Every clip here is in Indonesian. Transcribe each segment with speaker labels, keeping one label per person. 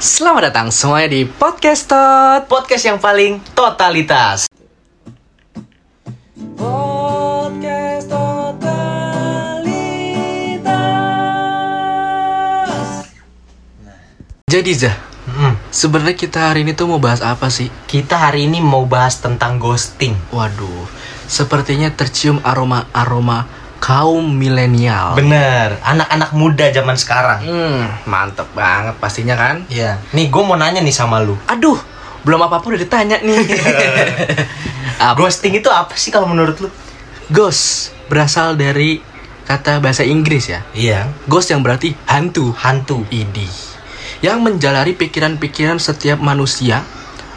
Speaker 1: Selamat datang semuanya di Podcast Tot
Speaker 2: Podcast yang paling totalitas.
Speaker 1: Podcast Totalitas Jadi Zah, sebenarnya kita hari ini tuh mau bahas apa sih?
Speaker 2: Hmm, Kita hari ini mau bahas tentang ghosting.
Speaker 1: Waduh, sepertinya tercium aroma-aroma kaum milenial
Speaker 2: Bener, anak-anak muda zaman sekarang.
Speaker 1: Hmm, mantep banget pastinya kan?
Speaker 2: Iya. Nih, gue mau nanya nih sama lu.
Speaker 1: Aduh, belum apa-apa udah ditanya nih Apa?
Speaker 2: Ghosting itu apa sih kalau menurut lu?
Speaker 1: Ghost berasal dari kata bahasa Inggris ya
Speaker 2: Iya.
Speaker 1: Ghost yang berarti hantu
Speaker 2: Hantu.
Speaker 1: Idi yang menjalari pikiran-pikiran setiap manusia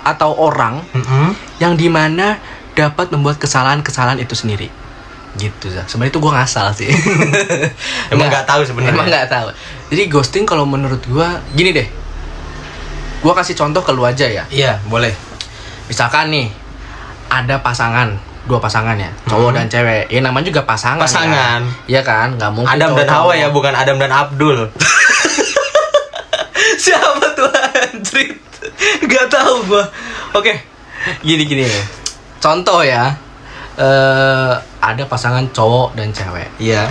Speaker 1: atau orang
Speaker 2: Mm-mm.
Speaker 1: yang dimana dapat membuat kesalahan-kesalahan itu sendiri gitu Zah. sebenarnya itu gue ngasal sih
Speaker 2: Emang nggak tahu sebenarnya?
Speaker 1: emang nggak tahu jadi ghosting kalau menurut gue gini deh gue kasih contoh ke lu aja ya
Speaker 2: Iya, boleh.
Speaker 1: misalkan nih ada pasangan dua pasangan ya cowok dan cewek ya namanya juga pasangan
Speaker 2: Hmm. Pasangan.
Speaker 1: ya, Iya kan nggak mungkin
Speaker 2: Adam dan
Speaker 1: cowok-cowok.
Speaker 2: Hawa ya, bukan Adam dan Abdul.
Speaker 1: Siapa tuh anjrit? Gak tahu gua. Oke. Gini gini. Contoh ya. Eh ada pasangan cowok dan cewek.
Speaker 2: Iya.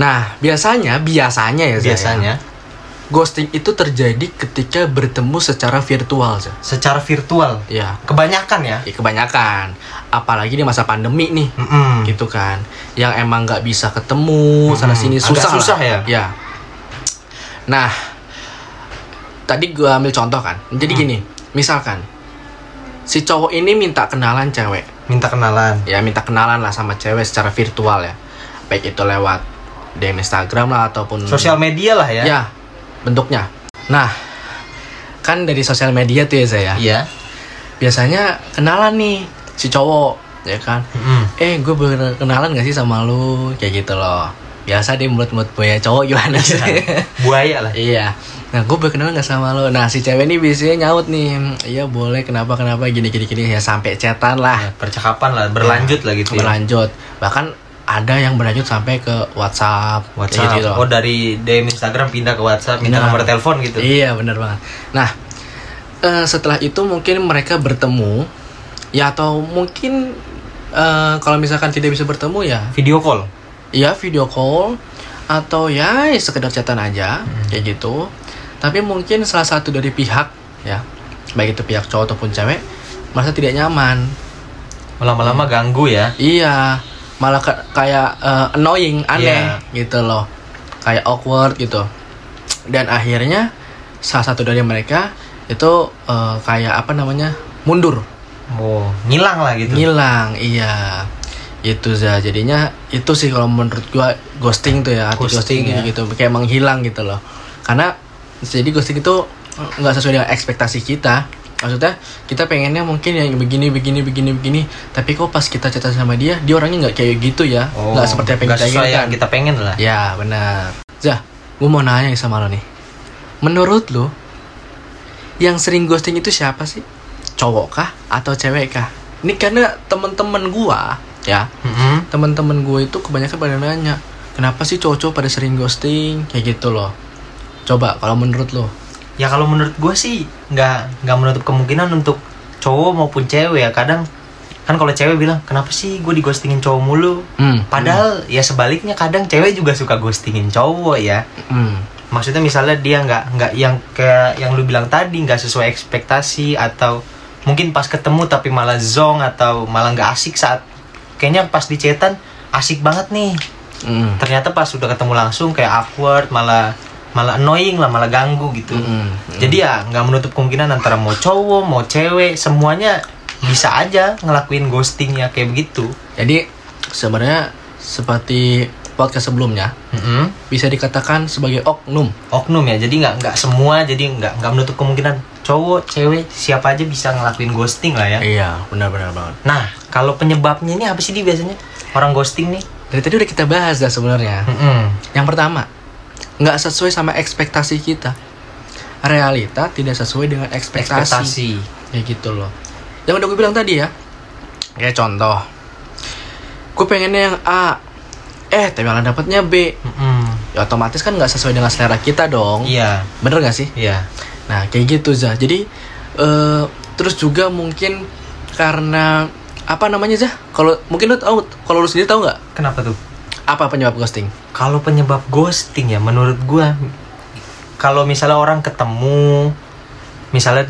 Speaker 1: Nah, biasanya biasanya ya Zah,
Speaker 2: Biasanya
Speaker 1: ya, ghosting itu terjadi ketika bertemu secara virtual Zah.
Speaker 2: secara virtual.
Speaker 1: Ya,
Speaker 2: Kebanyakan ya.
Speaker 1: ya kebanyakan. Apalagi di masa pandemi nih.
Speaker 2: Mm-mm.
Speaker 1: Gitu kan. Yang emang nggak bisa ketemu sana sini
Speaker 2: Hmm, agak
Speaker 1: susah lah.
Speaker 2: susah ya.
Speaker 1: Ya. Nah, tadi gua ambil contoh kan. Jadi
Speaker 2: Hmm.
Speaker 1: gini, misalkan si cowok ini minta kenalan cewek.
Speaker 2: Minta kenalan.
Speaker 1: Ya, minta kenalan lah sama cewek secara virtual ya. Baik itu lewat DM Instagram lah ataupun
Speaker 2: Sosial media lah ya.
Speaker 1: ya. bentuknya. Nah, kan dari sosial media tuh ya saya.
Speaker 2: Iya.
Speaker 1: Biasanya kenalan nih si cowok, ya kan?
Speaker 2: Mm-mm.
Speaker 1: Eh, gue bener kenalan gak sih sama lu? Kayak gitu loh. Biasa di mulut-mulut buaya cowok gimana
Speaker 2: Iya.
Speaker 1: sih?
Speaker 2: Buaya lah.
Speaker 1: Iya. Nah, gue berkenalan nggak sama lo. Nah, si cewek ini biasanya nyaut nih. "Hmm, Iya boleh. Kenapa kenapa gini gini gini ya sampai cetan lah.
Speaker 2: Percakapan lah, berlanjut lah gitu. ya.
Speaker 1: Berlanjut. Bahkan ada yang berlanjut sampai ke WhatsApp. kayak
Speaker 2: WhatsApp.
Speaker 1: gitu-gitu.
Speaker 2: Oh dari DM Instagram pindah ke WhatsApp, minta
Speaker 1: Nah.
Speaker 2: nomor telepon gitu.
Speaker 1: Iya bener banget. Nah, eh, setelah itu mungkin mereka bertemu. Ya atau mungkin eh, kalau misalkan tidak bisa bertemu ya
Speaker 2: Video call.
Speaker 1: ya video call atau ya sekedar chatan aja
Speaker 2: Hmm.
Speaker 1: kayak gitu tapi mungkin salah satu dari pihak ya baik itu pihak cowok ataupun cewek merasa tidak nyaman
Speaker 2: Lama-lama ganggu ya.
Speaker 1: iya malah ke- kayak eh, annoying aneh
Speaker 2: Iya.
Speaker 1: gitu loh kayak awkward gitu dan akhirnya salah satu dari mereka itu eh, kayak apa namanya mundur
Speaker 2: Oh, ngilang lah gitu.
Speaker 1: ngilang iya itu za jadinya itu sih kalau menurut gua ghosting tuh ya arti ghosting,
Speaker 2: Ghosting ya.
Speaker 1: gitu, gitu kayak menghilang gitu loh karena jadi ghosting itu nggak sesuai dengan ekspektasi kita maksudnya kita pengennya mungkin yang begini begini begini begini tapi kok pas kita cerita sama dia dia orangnya nggak kayak gitu ya
Speaker 2: Oh,
Speaker 1: nggak seperti apa yang
Speaker 2: nggak
Speaker 1: kita
Speaker 2: sesuai
Speaker 1: inginkan
Speaker 2: yang Iya. kita pengen lah.
Speaker 1: ya benar Zah gua mau nanya nih sama lo nih menurut lo yang sering ghosting itu siapa sih cowok kah atau cewek kah ini karena temen-temen gua ya
Speaker 2: Mm-mm.
Speaker 1: temen-temen gue itu kebanyakan pada nanya kenapa sih cowok-cowok pada sering ghosting kayak gitu loh coba kalau menurut lo
Speaker 2: Ya kalau menurut gue sih nggak nggak menutup kemungkinan untuk cowok maupun cewek ya. Kadang kan kalau cewek bilang kenapa sih gue digostingin cowok mulu?
Speaker 1: hmm.
Speaker 2: Padahal ya sebaliknya kadang cewek juga suka ghostingin cowok ya.
Speaker 1: hmm.
Speaker 2: maksudnya misalnya dia nggak nggak yang kayak yang lu bilang tadi nggak sesuai ekspektasi atau mungkin pas ketemu tapi malah zong atau malah nggak asik saat kayaknya pas di chatan asik banget nih
Speaker 1: Hmm.
Speaker 2: ternyata pas udah ketemu langsung kayak awkward malah malah annoying lah malah ganggu gitu
Speaker 1: Mm-mm.
Speaker 2: jadi ya nggak menutup kemungkinan antara mau cowok mau cewek semuanya bisa aja ngelakuin ghosting ya kayak begitu
Speaker 1: jadi sebenarnya seperti podcast sebelumnya
Speaker 2: Mm-mm.
Speaker 1: bisa dikatakan sebagai oknum
Speaker 2: oknum ya jadi nggak nggak semua jadi nggak nggak menutup kemungkinan cowok cewek siapa aja bisa ngelakuin ghosting lah ya
Speaker 1: iya benar-benar banget
Speaker 2: Nah, kalau penyebabnya ini apa sih di biasanya orang ghosting nih?
Speaker 1: dari tadi udah kita bahas dah sebenarnya Yang pertama, nggak sesuai sama ekspektasi kita. Realita tidak sesuai dengan ekspektasi.
Speaker 2: Ekspektasi.
Speaker 1: Ya gitu loh. Yang udah gue bilang tadi ya. Kayak contoh. Gue pengennya yang A. Eh, tapi malah dapatnya B.
Speaker 2: Mm-mm.
Speaker 1: Ya, otomatis kan nggak sesuai dengan selera kita dong.
Speaker 2: Iya,
Speaker 1: Bener nggak sih?
Speaker 2: iya.
Speaker 1: Nah, kayak gitu Zah. Jadi eh, terus juga mungkin karena apa namanya Zah? Kalau mungkin lu tahu kalau lu sendiri tahu nggak
Speaker 2: Kenapa tuh?
Speaker 1: apa penyebab ghosting?
Speaker 2: Kalau penyebab ghosting ya menurut gua kalau misalnya orang ketemu misalnya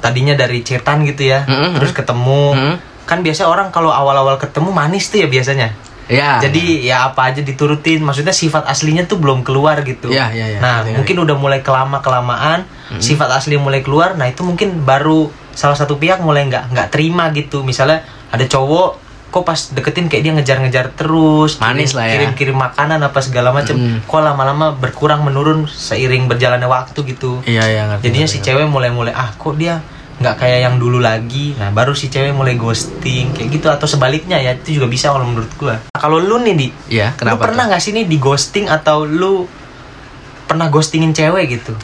Speaker 2: tadinya dari cetan gitu ya,
Speaker 1: Mm-mm.
Speaker 2: terus ketemu
Speaker 1: Mm-mm.
Speaker 2: kan biasanya orang kalau awal-awal ketemu manis tuh ya biasanya.
Speaker 1: Ya.
Speaker 2: Jadi ya apa aja diturutin, maksudnya sifat aslinya tuh belum keluar gitu.
Speaker 1: Ya, ya, ya. Ngerti,
Speaker 2: Nah,
Speaker 1: ngerti.
Speaker 2: mungkin udah mulai kelama kelamaan sifat asli mulai keluar. Nah itu mungkin baru salah satu pihak mulai nggak nggak terima gitu. Misalnya ada cowok kok pas deketin kayak dia ngejar-ngejar terus,
Speaker 1: Manis
Speaker 2: kirim-
Speaker 1: lah ya.
Speaker 2: kirim-kirim makanan apa segala macem.
Speaker 1: Mm.
Speaker 2: Kok lama-lama berkurang menurun seiring berjalannya waktu gitu.
Speaker 1: Iya, iya ngerti.
Speaker 2: Jadinya
Speaker 1: ngerti,
Speaker 2: si cewek mulai-mulai ah kok dia nggak kayak yang dulu lagi. Nah baru si cewek mulai ghosting kayak gitu atau sebaliknya ya itu juga bisa kalau menurut gua. Nah, kalau lu nih di
Speaker 1: ngerti. Iya, kenapa?
Speaker 2: lu pernah
Speaker 1: tuh?
Speaker 2: nggak sih nih di ghosting atau lu pernah ghostingin cewek gitu?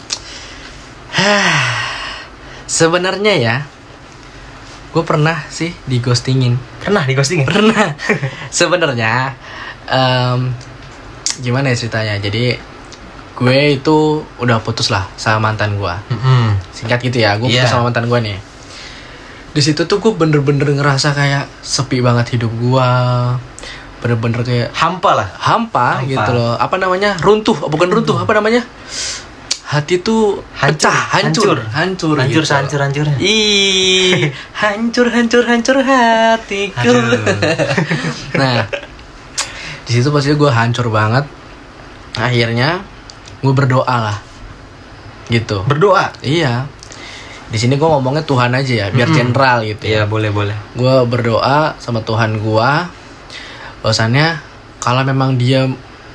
Speaker 1: Sebenarnya ya gue pernah sih di ghostingin.
Speaker 2: Pernah di ya? ghostingin?
Speaker 1: pernah sebenarnya em, gimana ya ceritanya jadi gue itu udah putus lah sama mantan gue singkat gitu ya gue putus
Speaker 2: Iya.
Speaker 1: sama mantan gue nih di situ tuh gue bener-bener ngerasa kayak sepi banget hidup gue bener-bener kayak
Speaker 2: Hampa lah.
Speaker 1: hampa,
Speaker 2: Hampa.
Speaker 1: gitu loh apa namanya runtuh bukan runtuh apa namanya hati tuh pecah hancur
Speaker 2: hancur, hancur,
Speaker 1: hancur gitu.
Speaker 2: hancur, hancurnya.
Speaker 1: Ih, hancur hancur hancur hatiku.
Speaker 2: Aduh.
Speaker 1: nah, di situ pasti gue hancur banget. Akhirnya gue berdoa lah, gitu.
Speaker 2: Berdoa.
Speaker 1: iya. Di sini gue ngomongnya Tuhan aja ya, biar
Speaker 2: Mm-mm.
Speaker 1: general gitu. ya
Speaker 2: Iya boleh boleh.
Speaker 1: gue berdoa sama Tuhan gue bahwasannya kalau memang dia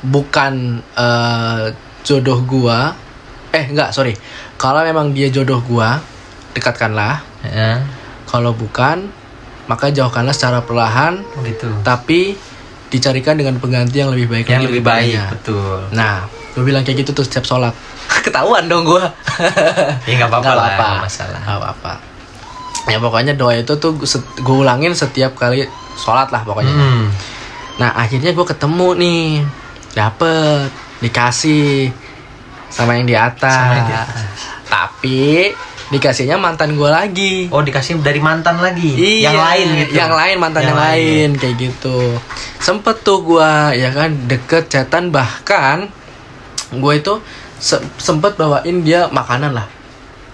Speaker 1: bukan eh, jodoh gue eh enggak sorry kalau memang dia jodoh gue dekatkanlah
Speaker 2: Ya.
Speaker 1: kalau bukan maka jauhkanlah secara perlahan
Speaker 2: Gitu.
Speaker 1: tapi dicarikan dengan pengganti yang lebih baik
Speaker 2: Yang lebih baik
Speaker 1: daripadanya.
Speaker 2: betul.
Speaker 1: nah gue bilang kayak gitu tuh setiap sholat ketahuan dong gue
Speaker 2: Ya nggak apa-apa
Speaker 1: Nggak
Speaker 2: lah.
Speaker 1: apa-apa.
Speaker 2: nggak Masalah.
Speaker 1: Nggak apa-apa. Ya pokoknya doa itu tuh gue ulangin setiap kali sholat lah pokoknya.
Speaker 2: Hmm.
Speaker 1: Nah akhirnya gue ketemu nih, dapet dikasih sama yang di atas.
Speaker 2: Sama yang di atas.
Speaker 1: Tapi dikasihnya mantan gue lagi.
Speaker 2: Oh dikasih dari mantan lagi.
Speaker 1: Iya,
Speaker 2: Yang lain gitu. iya.
Speaker 1: Yang lain mantan yang, lain. kayak gitu. Sempet tuh gua ya kan deket chatan bahkan gue itu se- sempet bawain dia makanan lah.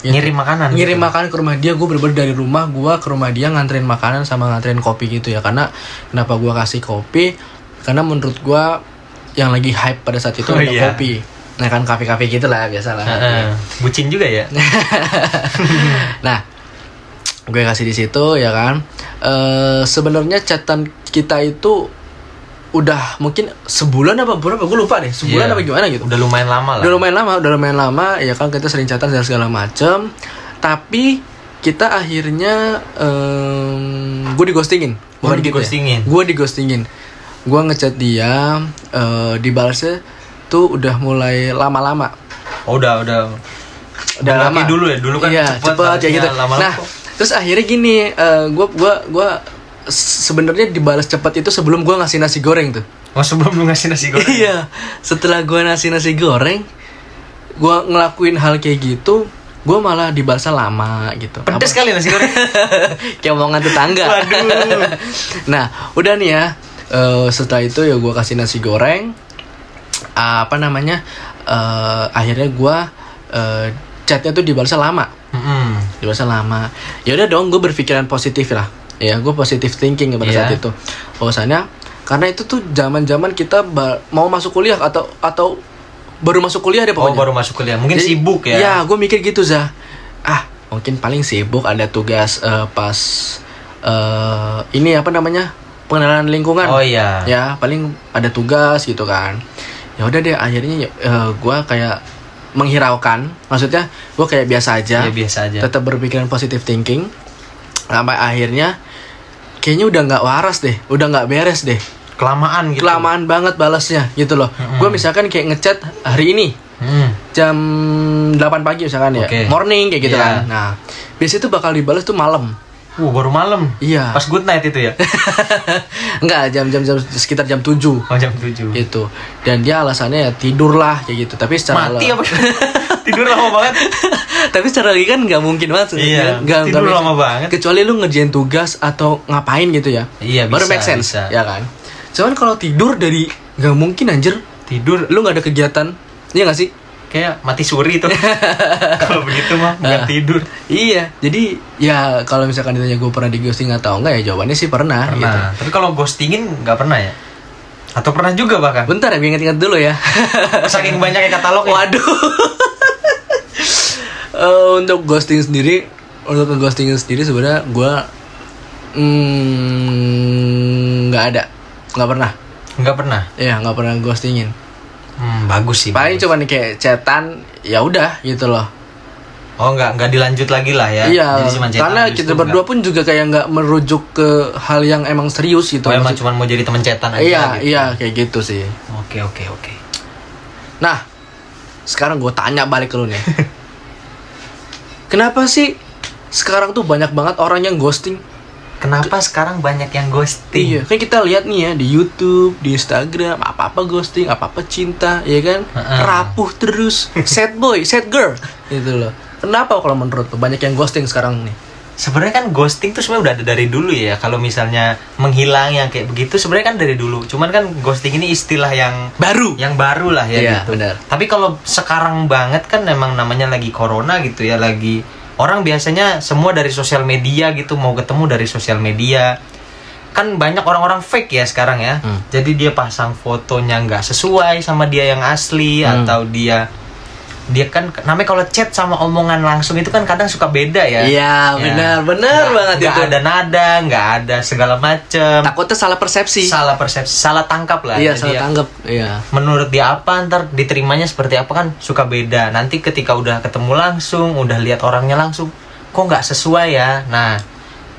Speaker 2: Ngirim makanan
Speaker 1: Iya. Ngirim
Speaker 2: gitu.
Speaker 1: makanan ke rumah dia, gue berber dari rumah gua ke rumah dia nganterin makanan sama nganterin kopi gitu ya. Karena kenapa gua kasih kopi? Karena menurut gua yang lagi hype pada saat itu
Speaker 2: Oh,
Speaker 1: ada
Speaker 2: iya.
Speaker 1: kopi. Nah kan kafe-kafe gitu lah biasa lah.
Speaker 2: Heeh. Bucin juga ya.
Speaker 1: nah gue kasih di situ ya kan Eh sebenarnya chatan kita itu udah mungkin sebulan apa berapa gue lupa deh sebulan
Speaker 2: Iya.
Speaker 1: apa gimana gitu
Speaker 2: Udah lumayan lama lah.
Speaker 1: udah lumayan lama udah lumayan lama ya kan kita sering chatan dan segala macem tapi kita akhirnya em, gue digostingin
Speaker 2: Oh,
Speaker 1: gitu ya.
Speaker 2: digostingin.
Speaker 1: gue digostingin gue ngechat dia eh dibalasnya tuh udah mulai lama-lama
Speaker 2: Oh, udah udah.
Speaker 1: udah
Speaker 2: Lagi
Speaker 1: lama
Speaker 2: dulu ya, dulu kan
Speaker 1: iya,
Speaker 2: cepet,
Speaker 1: cepet, kayak
Speaker 2: harusnya
Speaker 1: gitu
Speaker 2: lama-lama
Speaker 1: nah
Speaker 2: kok.
Speaker 1: terus akhirnya gini eh, gua gua gua s- sebenarnya dibalas cepat itu sebelum gua ngasih nasi goreng tuh
Speaker 2: Oh sebelum lu ngasih nasi goreng.
Speaker 1: iya setelah gua ngasih nasi goreng gua ngelakuin hal kayak gitu gua malah dibalasnya lama gitu
Speaker 2: Pedes kali nasi goreng.
Speaker 1: kayak omongan tetangga.
Speaker 2: Waduh.
Speaker 1: nah, udah nih ya. Eh, setelah itu ya gua kasih nasi goreng. Ah, apa namanya? Eh, akhirnya gua eh, chatnya tuh dibalasnya lama.
Speaker 2: Mm-mm.
Speaker 1: Dibalasnya lama. Ya udah dong, gue berpikiran positif lah. Ya, gue positif thinking pada
Speaker 2: Iya.
Speaker 1: saat itu. Bahwasannya karena itu tuh zaman-zaman kita ba- mau masuk kuliah atau atau baru masuk kuliah deh
Speaker 2: Oh
Speaker 1: pokoknya.
Speaker 2: baru masuk kuliah, mungkin
Speaker 1: Jadi-
Speaker 2: sibuk ya.
Speaker 1: Iya, gue mikir gitu Zah. Ah, mungkin paling sibuk ada tugas eh, pas eh ini apa namanya pengenalan lingkungan.
Speaker 2: Oh iya.
Speaker 1: Ya, paling ada tugas gitu kan. Ya udah deh, akhirnya gue kayak menghiraukan. Maksudnya gue kayak biasa aja.
Speaker 2: Ya, biasa aja.
Speaker 1: Tetap berpikiran positive thinking. Sampai akhirnya kayaknya udah nggak waras deh, udah nggak beres deh.
Speaker 2: Kelamaan gitu.
Speaker 1: Kelamaan banget balasnya gitu loh. Gue misalkan kayak ngechat hari ini,
Speaker 2: Mm.
Speaker 1: jam 8 pagi misalkan ya
Speaker 2: Oke.
Speaker 1: morning kayak gitu
Speaker 2: Iya.
Speaker 1: kan nah biasanya tuh bakal dibales tuh malam
Speaker 2: Uh, baru malam.
Speaker 1: iya
Speaker 2: Pas good night itu ya.
Speaker 1: enggak jam jam jam sekitar jam 7
Speaker 2: Oh jam 7.
Speaker 1: gitu dan dia alasannya ya tidur lah kayak gitu tapi secara
Speaker 2: Mati apa? tidur lama banget
Speaker 1: tapi secara lagi kan nggak mungkin banget
Speaker 2: Iya,
Speaker 1: sebenarnya. Nggak-
Speaker 2: tidur
Speaker 1: nggak-
Speaker 2: lama banget.
Speaker 1: Kan? kecuali lu ngerjain tugas atau ngapain gitu ya
Speaker 2: Iya,
Speaker 1: baru
Speaker 2: bisa,
Speaker 1: make sense
Speaker 2: bisa.
Speaker 1: ya kan cuman kalau tidur dari nggak mungkin anjir
Speaker 2: tidur
Speaker 1: lu nggak ada kegiatan iya nggak sih
Speaker 2: kayak mati suri tuh kalau begitu mah bukan
Speaker 1: Ah.
Speaker 2: tidur
Speaker 1: iya jadi ya kalau misalkan ditanya gue pernah di ghosting atau enggak ya jawabannya sih pernah, gitu
Speaker 2: pernah tapi kalau ghostingin nggak pernah ya atau pernah juga bahkan
Speaker 1: bentar ya gue inget-inget dulu ya
Speaker 2: saking banyaknya katalog ya
Speaker 1: Waduh. Eh, untuk ghosting sendiri, untuk ghosting sendiri sebenarnya gue mm, nggak ada, nggak pernah.
Speaker 2: nggak pernah
Speaker 1: Ya nggak pernah ghostingin.
Speaker 2: hmm, bagus sih
Speaker 1: Paling
Speaker 2: bagus.
Speaker 1: cuman kayak chatan, ya udah gitu loh.
Speaker 2: oh nggak nggak dilanjut lagi lah ya
Speaker 1: iya.
Speaker 2: cuman cetan
Speaker 1: Karena
Speaker 2: abis
Speaker 1: kita
Speaker 2: itu
Speaker 1: berdua
Speaker 2: nggak-
Speaker 1: pun juga kayak nggak merujuk ke hal yang emang serius gitu.
Speaker 2: oh, emang
Speaker 1: Maksud-
Speaker 2: cuma mau jadi teman cetan aja
Speaker 1: iya
Speaker 2: gitu.
Speaker 1: iya kayak gitu sih.
Speaker 2: oke oke oke
Speaker 1: Nah, sekarang gue tanya balik ke lu nih. Kenapa sih sekarang tuh banyak banget orang yang ghosting?
Speaker 2: kenapa sekarang banyak yang
Speaker 1: Iya,
Speaker 2: ghosting
Speaker 1: kan kita lihat nih ya di YouTube, di Instagram, apa-apa ghosting, apa-apa cinta, ya kan?
Speaker 2: Heeh.
Speaker 1: Rapuh terus, sad boy, sad girl, gitu loh. Kenapa kalau menurut lu banyak yang ghosting sekarang nih?
Speaker 2: sebenarnya kan ghosting tuh sebenarnya udah ada dari dulu ya kalau misalnya menghilang yang kayak begitu sebenarnya kan dari dulu cuman kan ghosting ini istilah yang
Speaker 1: Baru.
Speaker 2: yang baru lah ya
Speaker 1: Iya,
Speaker 2: gitu
Speaker 1: benar.
Speaker 2: tapi kalau sekarang banget kan memang namanya lagi corona gitu ya lagi orang biasanya semua dari sosial media gitu mau ketemu dari sosial media kan banyak orang-orang fake ya sekarang ya
Speaker 1: Hmm.
Speaker 2: jadi dia pasang fotonya nggak sesuai sama dia yang asli
Speaker 1: Hmm.
Speaker 2: atau dia dia kan namanya kalau chat sama omongan langsung itu kan kadang suka beda ya
Speaker 1: Iya, benar, benar
Speaker 2: Nggak-
Speaker 1: banget
Speaker 2: nggak
Speaker 1: itu.
Speaker 2: ada nada nggak ada segala macem
Speaker 1: Takutnya salah persepsi.
Speaker 2: salah persepsi salah tangkap lah
Speaker 1: iya,
Speaker 2: Jadi
Speaker 1: salah
Speaker 2: ya,
Speaker 1: tanggap. Iya.
Speaker 2: menurut dia apa ntar diterimanya seperti apa kan suka beda nanti ketika udah ketemu langsung udah lihat orangnya langsung kok nggak sesuai ya nah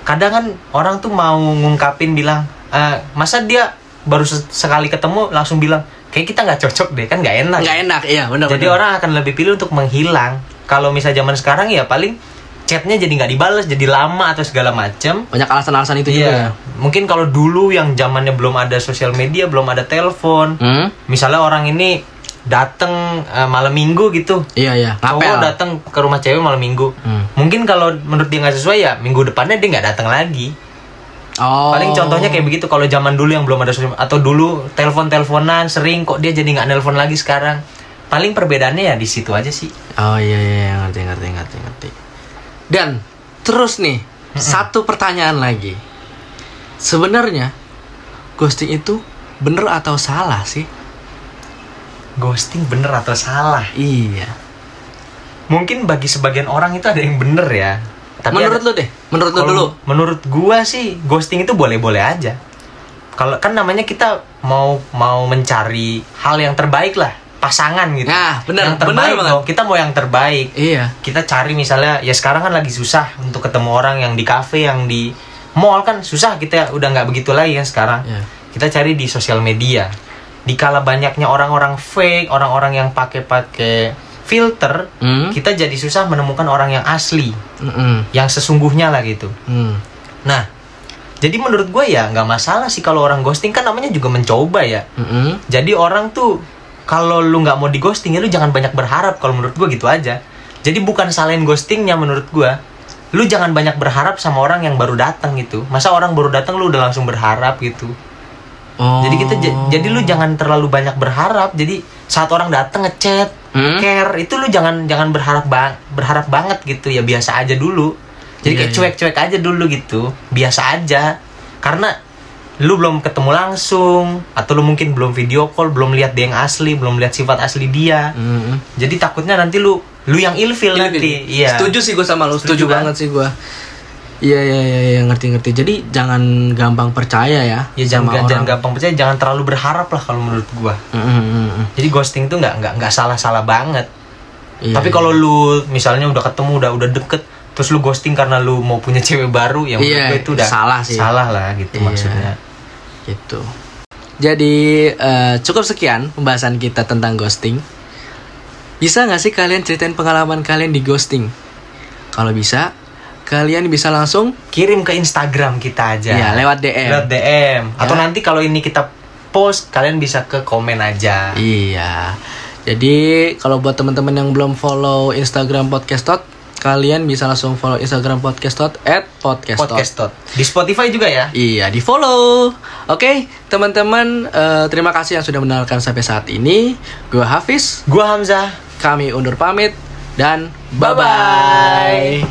Speaker 2: kadang kan orang tuh mau ngungkapin bilang "Eh, masa dia baru se- sekali ketemu langsung bilang kayak kita nggak cocok deh kan nggak enak
Speaker 1: Nggak enak, iya, benar.
Speaker 2: jadi
Speaker 1: benar.
Speaker 2: orang akan lebih pilih untuk menghilang kalau misal zaman sekarang ya paling chatnya jadi nggak dibales jadi lama atau segala macem
Speaker 1: banyak alasan-alasan itu juga. ya.
Speaker 2: Iya, mungkin kalau dulu yang zamannya belum ada sosial media, belum ada telepon,
Speaker 1: Hmm?
Speaker 2: misalnya orang ini datang eh, malam minggu gitu
Speaker 1: Iya iya.
Speaker 2: cowok
Speaker 1: Ngapel.
Speaker 2: datang ke rumah cewek malam minggu
Speaker 1: Hmm.
Speaker 2: mungkin kalau menurut dia nggak sesuai ya minggu depannya dia nggak datang lagi
Speaker 1: Oh.
Speaker 2: paling contohnya kayak begitu kalau zaman dulu yang belum ada sosial atau dulu telepon teleponan sering kok dia jadi nggak nelpon lagi sekarang paling perbedaannya ya di situ aja sih
Speaker 1: Oh iya iya iya, ngerti ngerti ngerti ngerti. Dan terus nih satu pertanyaan lagi. Sebenarnya ghosting itu bener atau salah sih?
Speaker 2: ghosting bener atau salah
Speaker 1: Iya.
Speaker 2: mungkin bagi sebagian orang itu ada yang bener ya tapi ada-
Speaker 1: menurut lu deh, menurut lu
Speaker 2: Kalau
Speaker 1: dulu.
Speaker 2: Menurut gua sih ghosting itu boleh-boleh aja. Kalau kan namanya kita mau mau mencari hal yang terbaik lah, pasangan gitu.
Speaker 1: Nah, benar,
Speaker 2: Yang terbaik
Speaker 1: benar banget.
Speaker 2: dong, Kita mau yang terbaik.
Speaker 1: Iya.
Speaker 2: Kita cari misalnya ya sekarang kan lagi susah untuk ketemu orang yang di kafe, yang di mall kan susah kita udah nggak begitu lagi kan sekarang.
Speaker 1: Iya.
Speaker 2: Kita cari di sosial media. Dikala banyaknya orang-orang fake, orang-orang yang pakai-pakai filter,
Speaker 1: Hmm?
Speaker 2: kita jadi susah menemukan orang yang asli,
Speaker 1: Mm-mm.
Speaker 2: yang sesungguhnya lah gitu.
Speaker 1: Hmm.
Speaker 2: Nah, jadi menurut gue ya nggak masalah sih kalau orang ghosting kan namanya juga mencoba ya.
Speaker 1: Mm-mm.
Speaker 2: Jadi orang tuh kalau lu nggak mau di ghosting ya lu jangan banyak berharap kalau menurut gue gitu aja. Jadi bukan salahin ghostingnya menurut gue. Lu jangan banyak berharap sama orang yang baru datang gitu. Masa orang baru datang lu udah langsung berharap gitu.
Speaker 1: Oh.
Speaker 2: Jadi kita j- jadi lu jangan terlalu banyak berharap. Jadi saat orang datang ngechat,
Speaker 1: Hmm?
Speaker 2: care itu lu jangan jangan berharap bang berharap banget gitu ya biasa aja dulu jadi
Speaker 1: Iya,
Speaker 2: kayak
Speaker 1: iya.
Speaker 2: cuek-cuek aja dulu gitu biasa aja karena lu belum ketemu langsung atau lu mungkin belum video call belum lihat dia yang asli belum lihat sifat asli dia
Speaker 1: Mm-mm.
Speaker 2: jadi takutnya nanti lu lu yang ilfil
Speaker 1: Iya,
Speaker 2: nanti
Speaker 1: Bin.
Speaker 2: iya
Speaker 1: Setuju sih gue sama lo,
Speaker 2: Setuju
Speaker 1: setuju,
Speaker 2: kan?
Speaker 1: banget sih gue. Iya iya iya iya, ngerti ngerti. Jadi jangan gampang percaya ya.
Speaker 2: ya
Speaker 1: sama
Speaker 2: jangan jangan
Speaker 1: orang. Mm,
Speaker 2: gampang percaya jangan terlalu berharap lah kalau menurut gua
Speaker 1: Mm-mm, mm-mm.
Speaker 2: jadi ghosting tuh nggak nggak nggak salah salah banget
Speaker 1: Iya, iya.
Speaker 2: tapi kalau lu misalnya udah ketemu udah udah deket terus lu ghosting karena lu mau punya cewek baru ya menurut
Speaker 1: Iya,
Speaker 2: gue itu udah
Speaker 1: salah sih.
Speaker 2: salah lah
Speaker 1: Iya.
Speaker 2: gitu maksudnya
Speaker 1: gitu jadi eh, cukup sekian pembahasan kita tentang ghosting bisa nggak sih kalian ceritain pengalaman kalian di ghosting kalau bisa kalian bisa langsung
Speaker 2: kirim ke Instagram kita aja
Speaker 1: ya lewat Ya. DM
Speaker 2: Lewat DM atau nanti kalau ini kita post kalian bisa ke komen aja
Speaker 1: iya Jadi kalau buat teman-teman yang belum follow Instagram Podcast Tot, kalian bisa langsung follow Instagram Podcast Tot at Podcast Tot.
Speaker 2: Podcast Tot. Di Spotify juga ya.
Speaker 1: Iya, di follow. Oke, teman-teman, eh, terima kasih yang sudah mendengarkan sampai saat ini. Gua Hafiz,
Speaker 2: Gua Hamzah.
Speaker 1: kami undur pamit dan bye-bye.
Speaker 2: Bye-bye.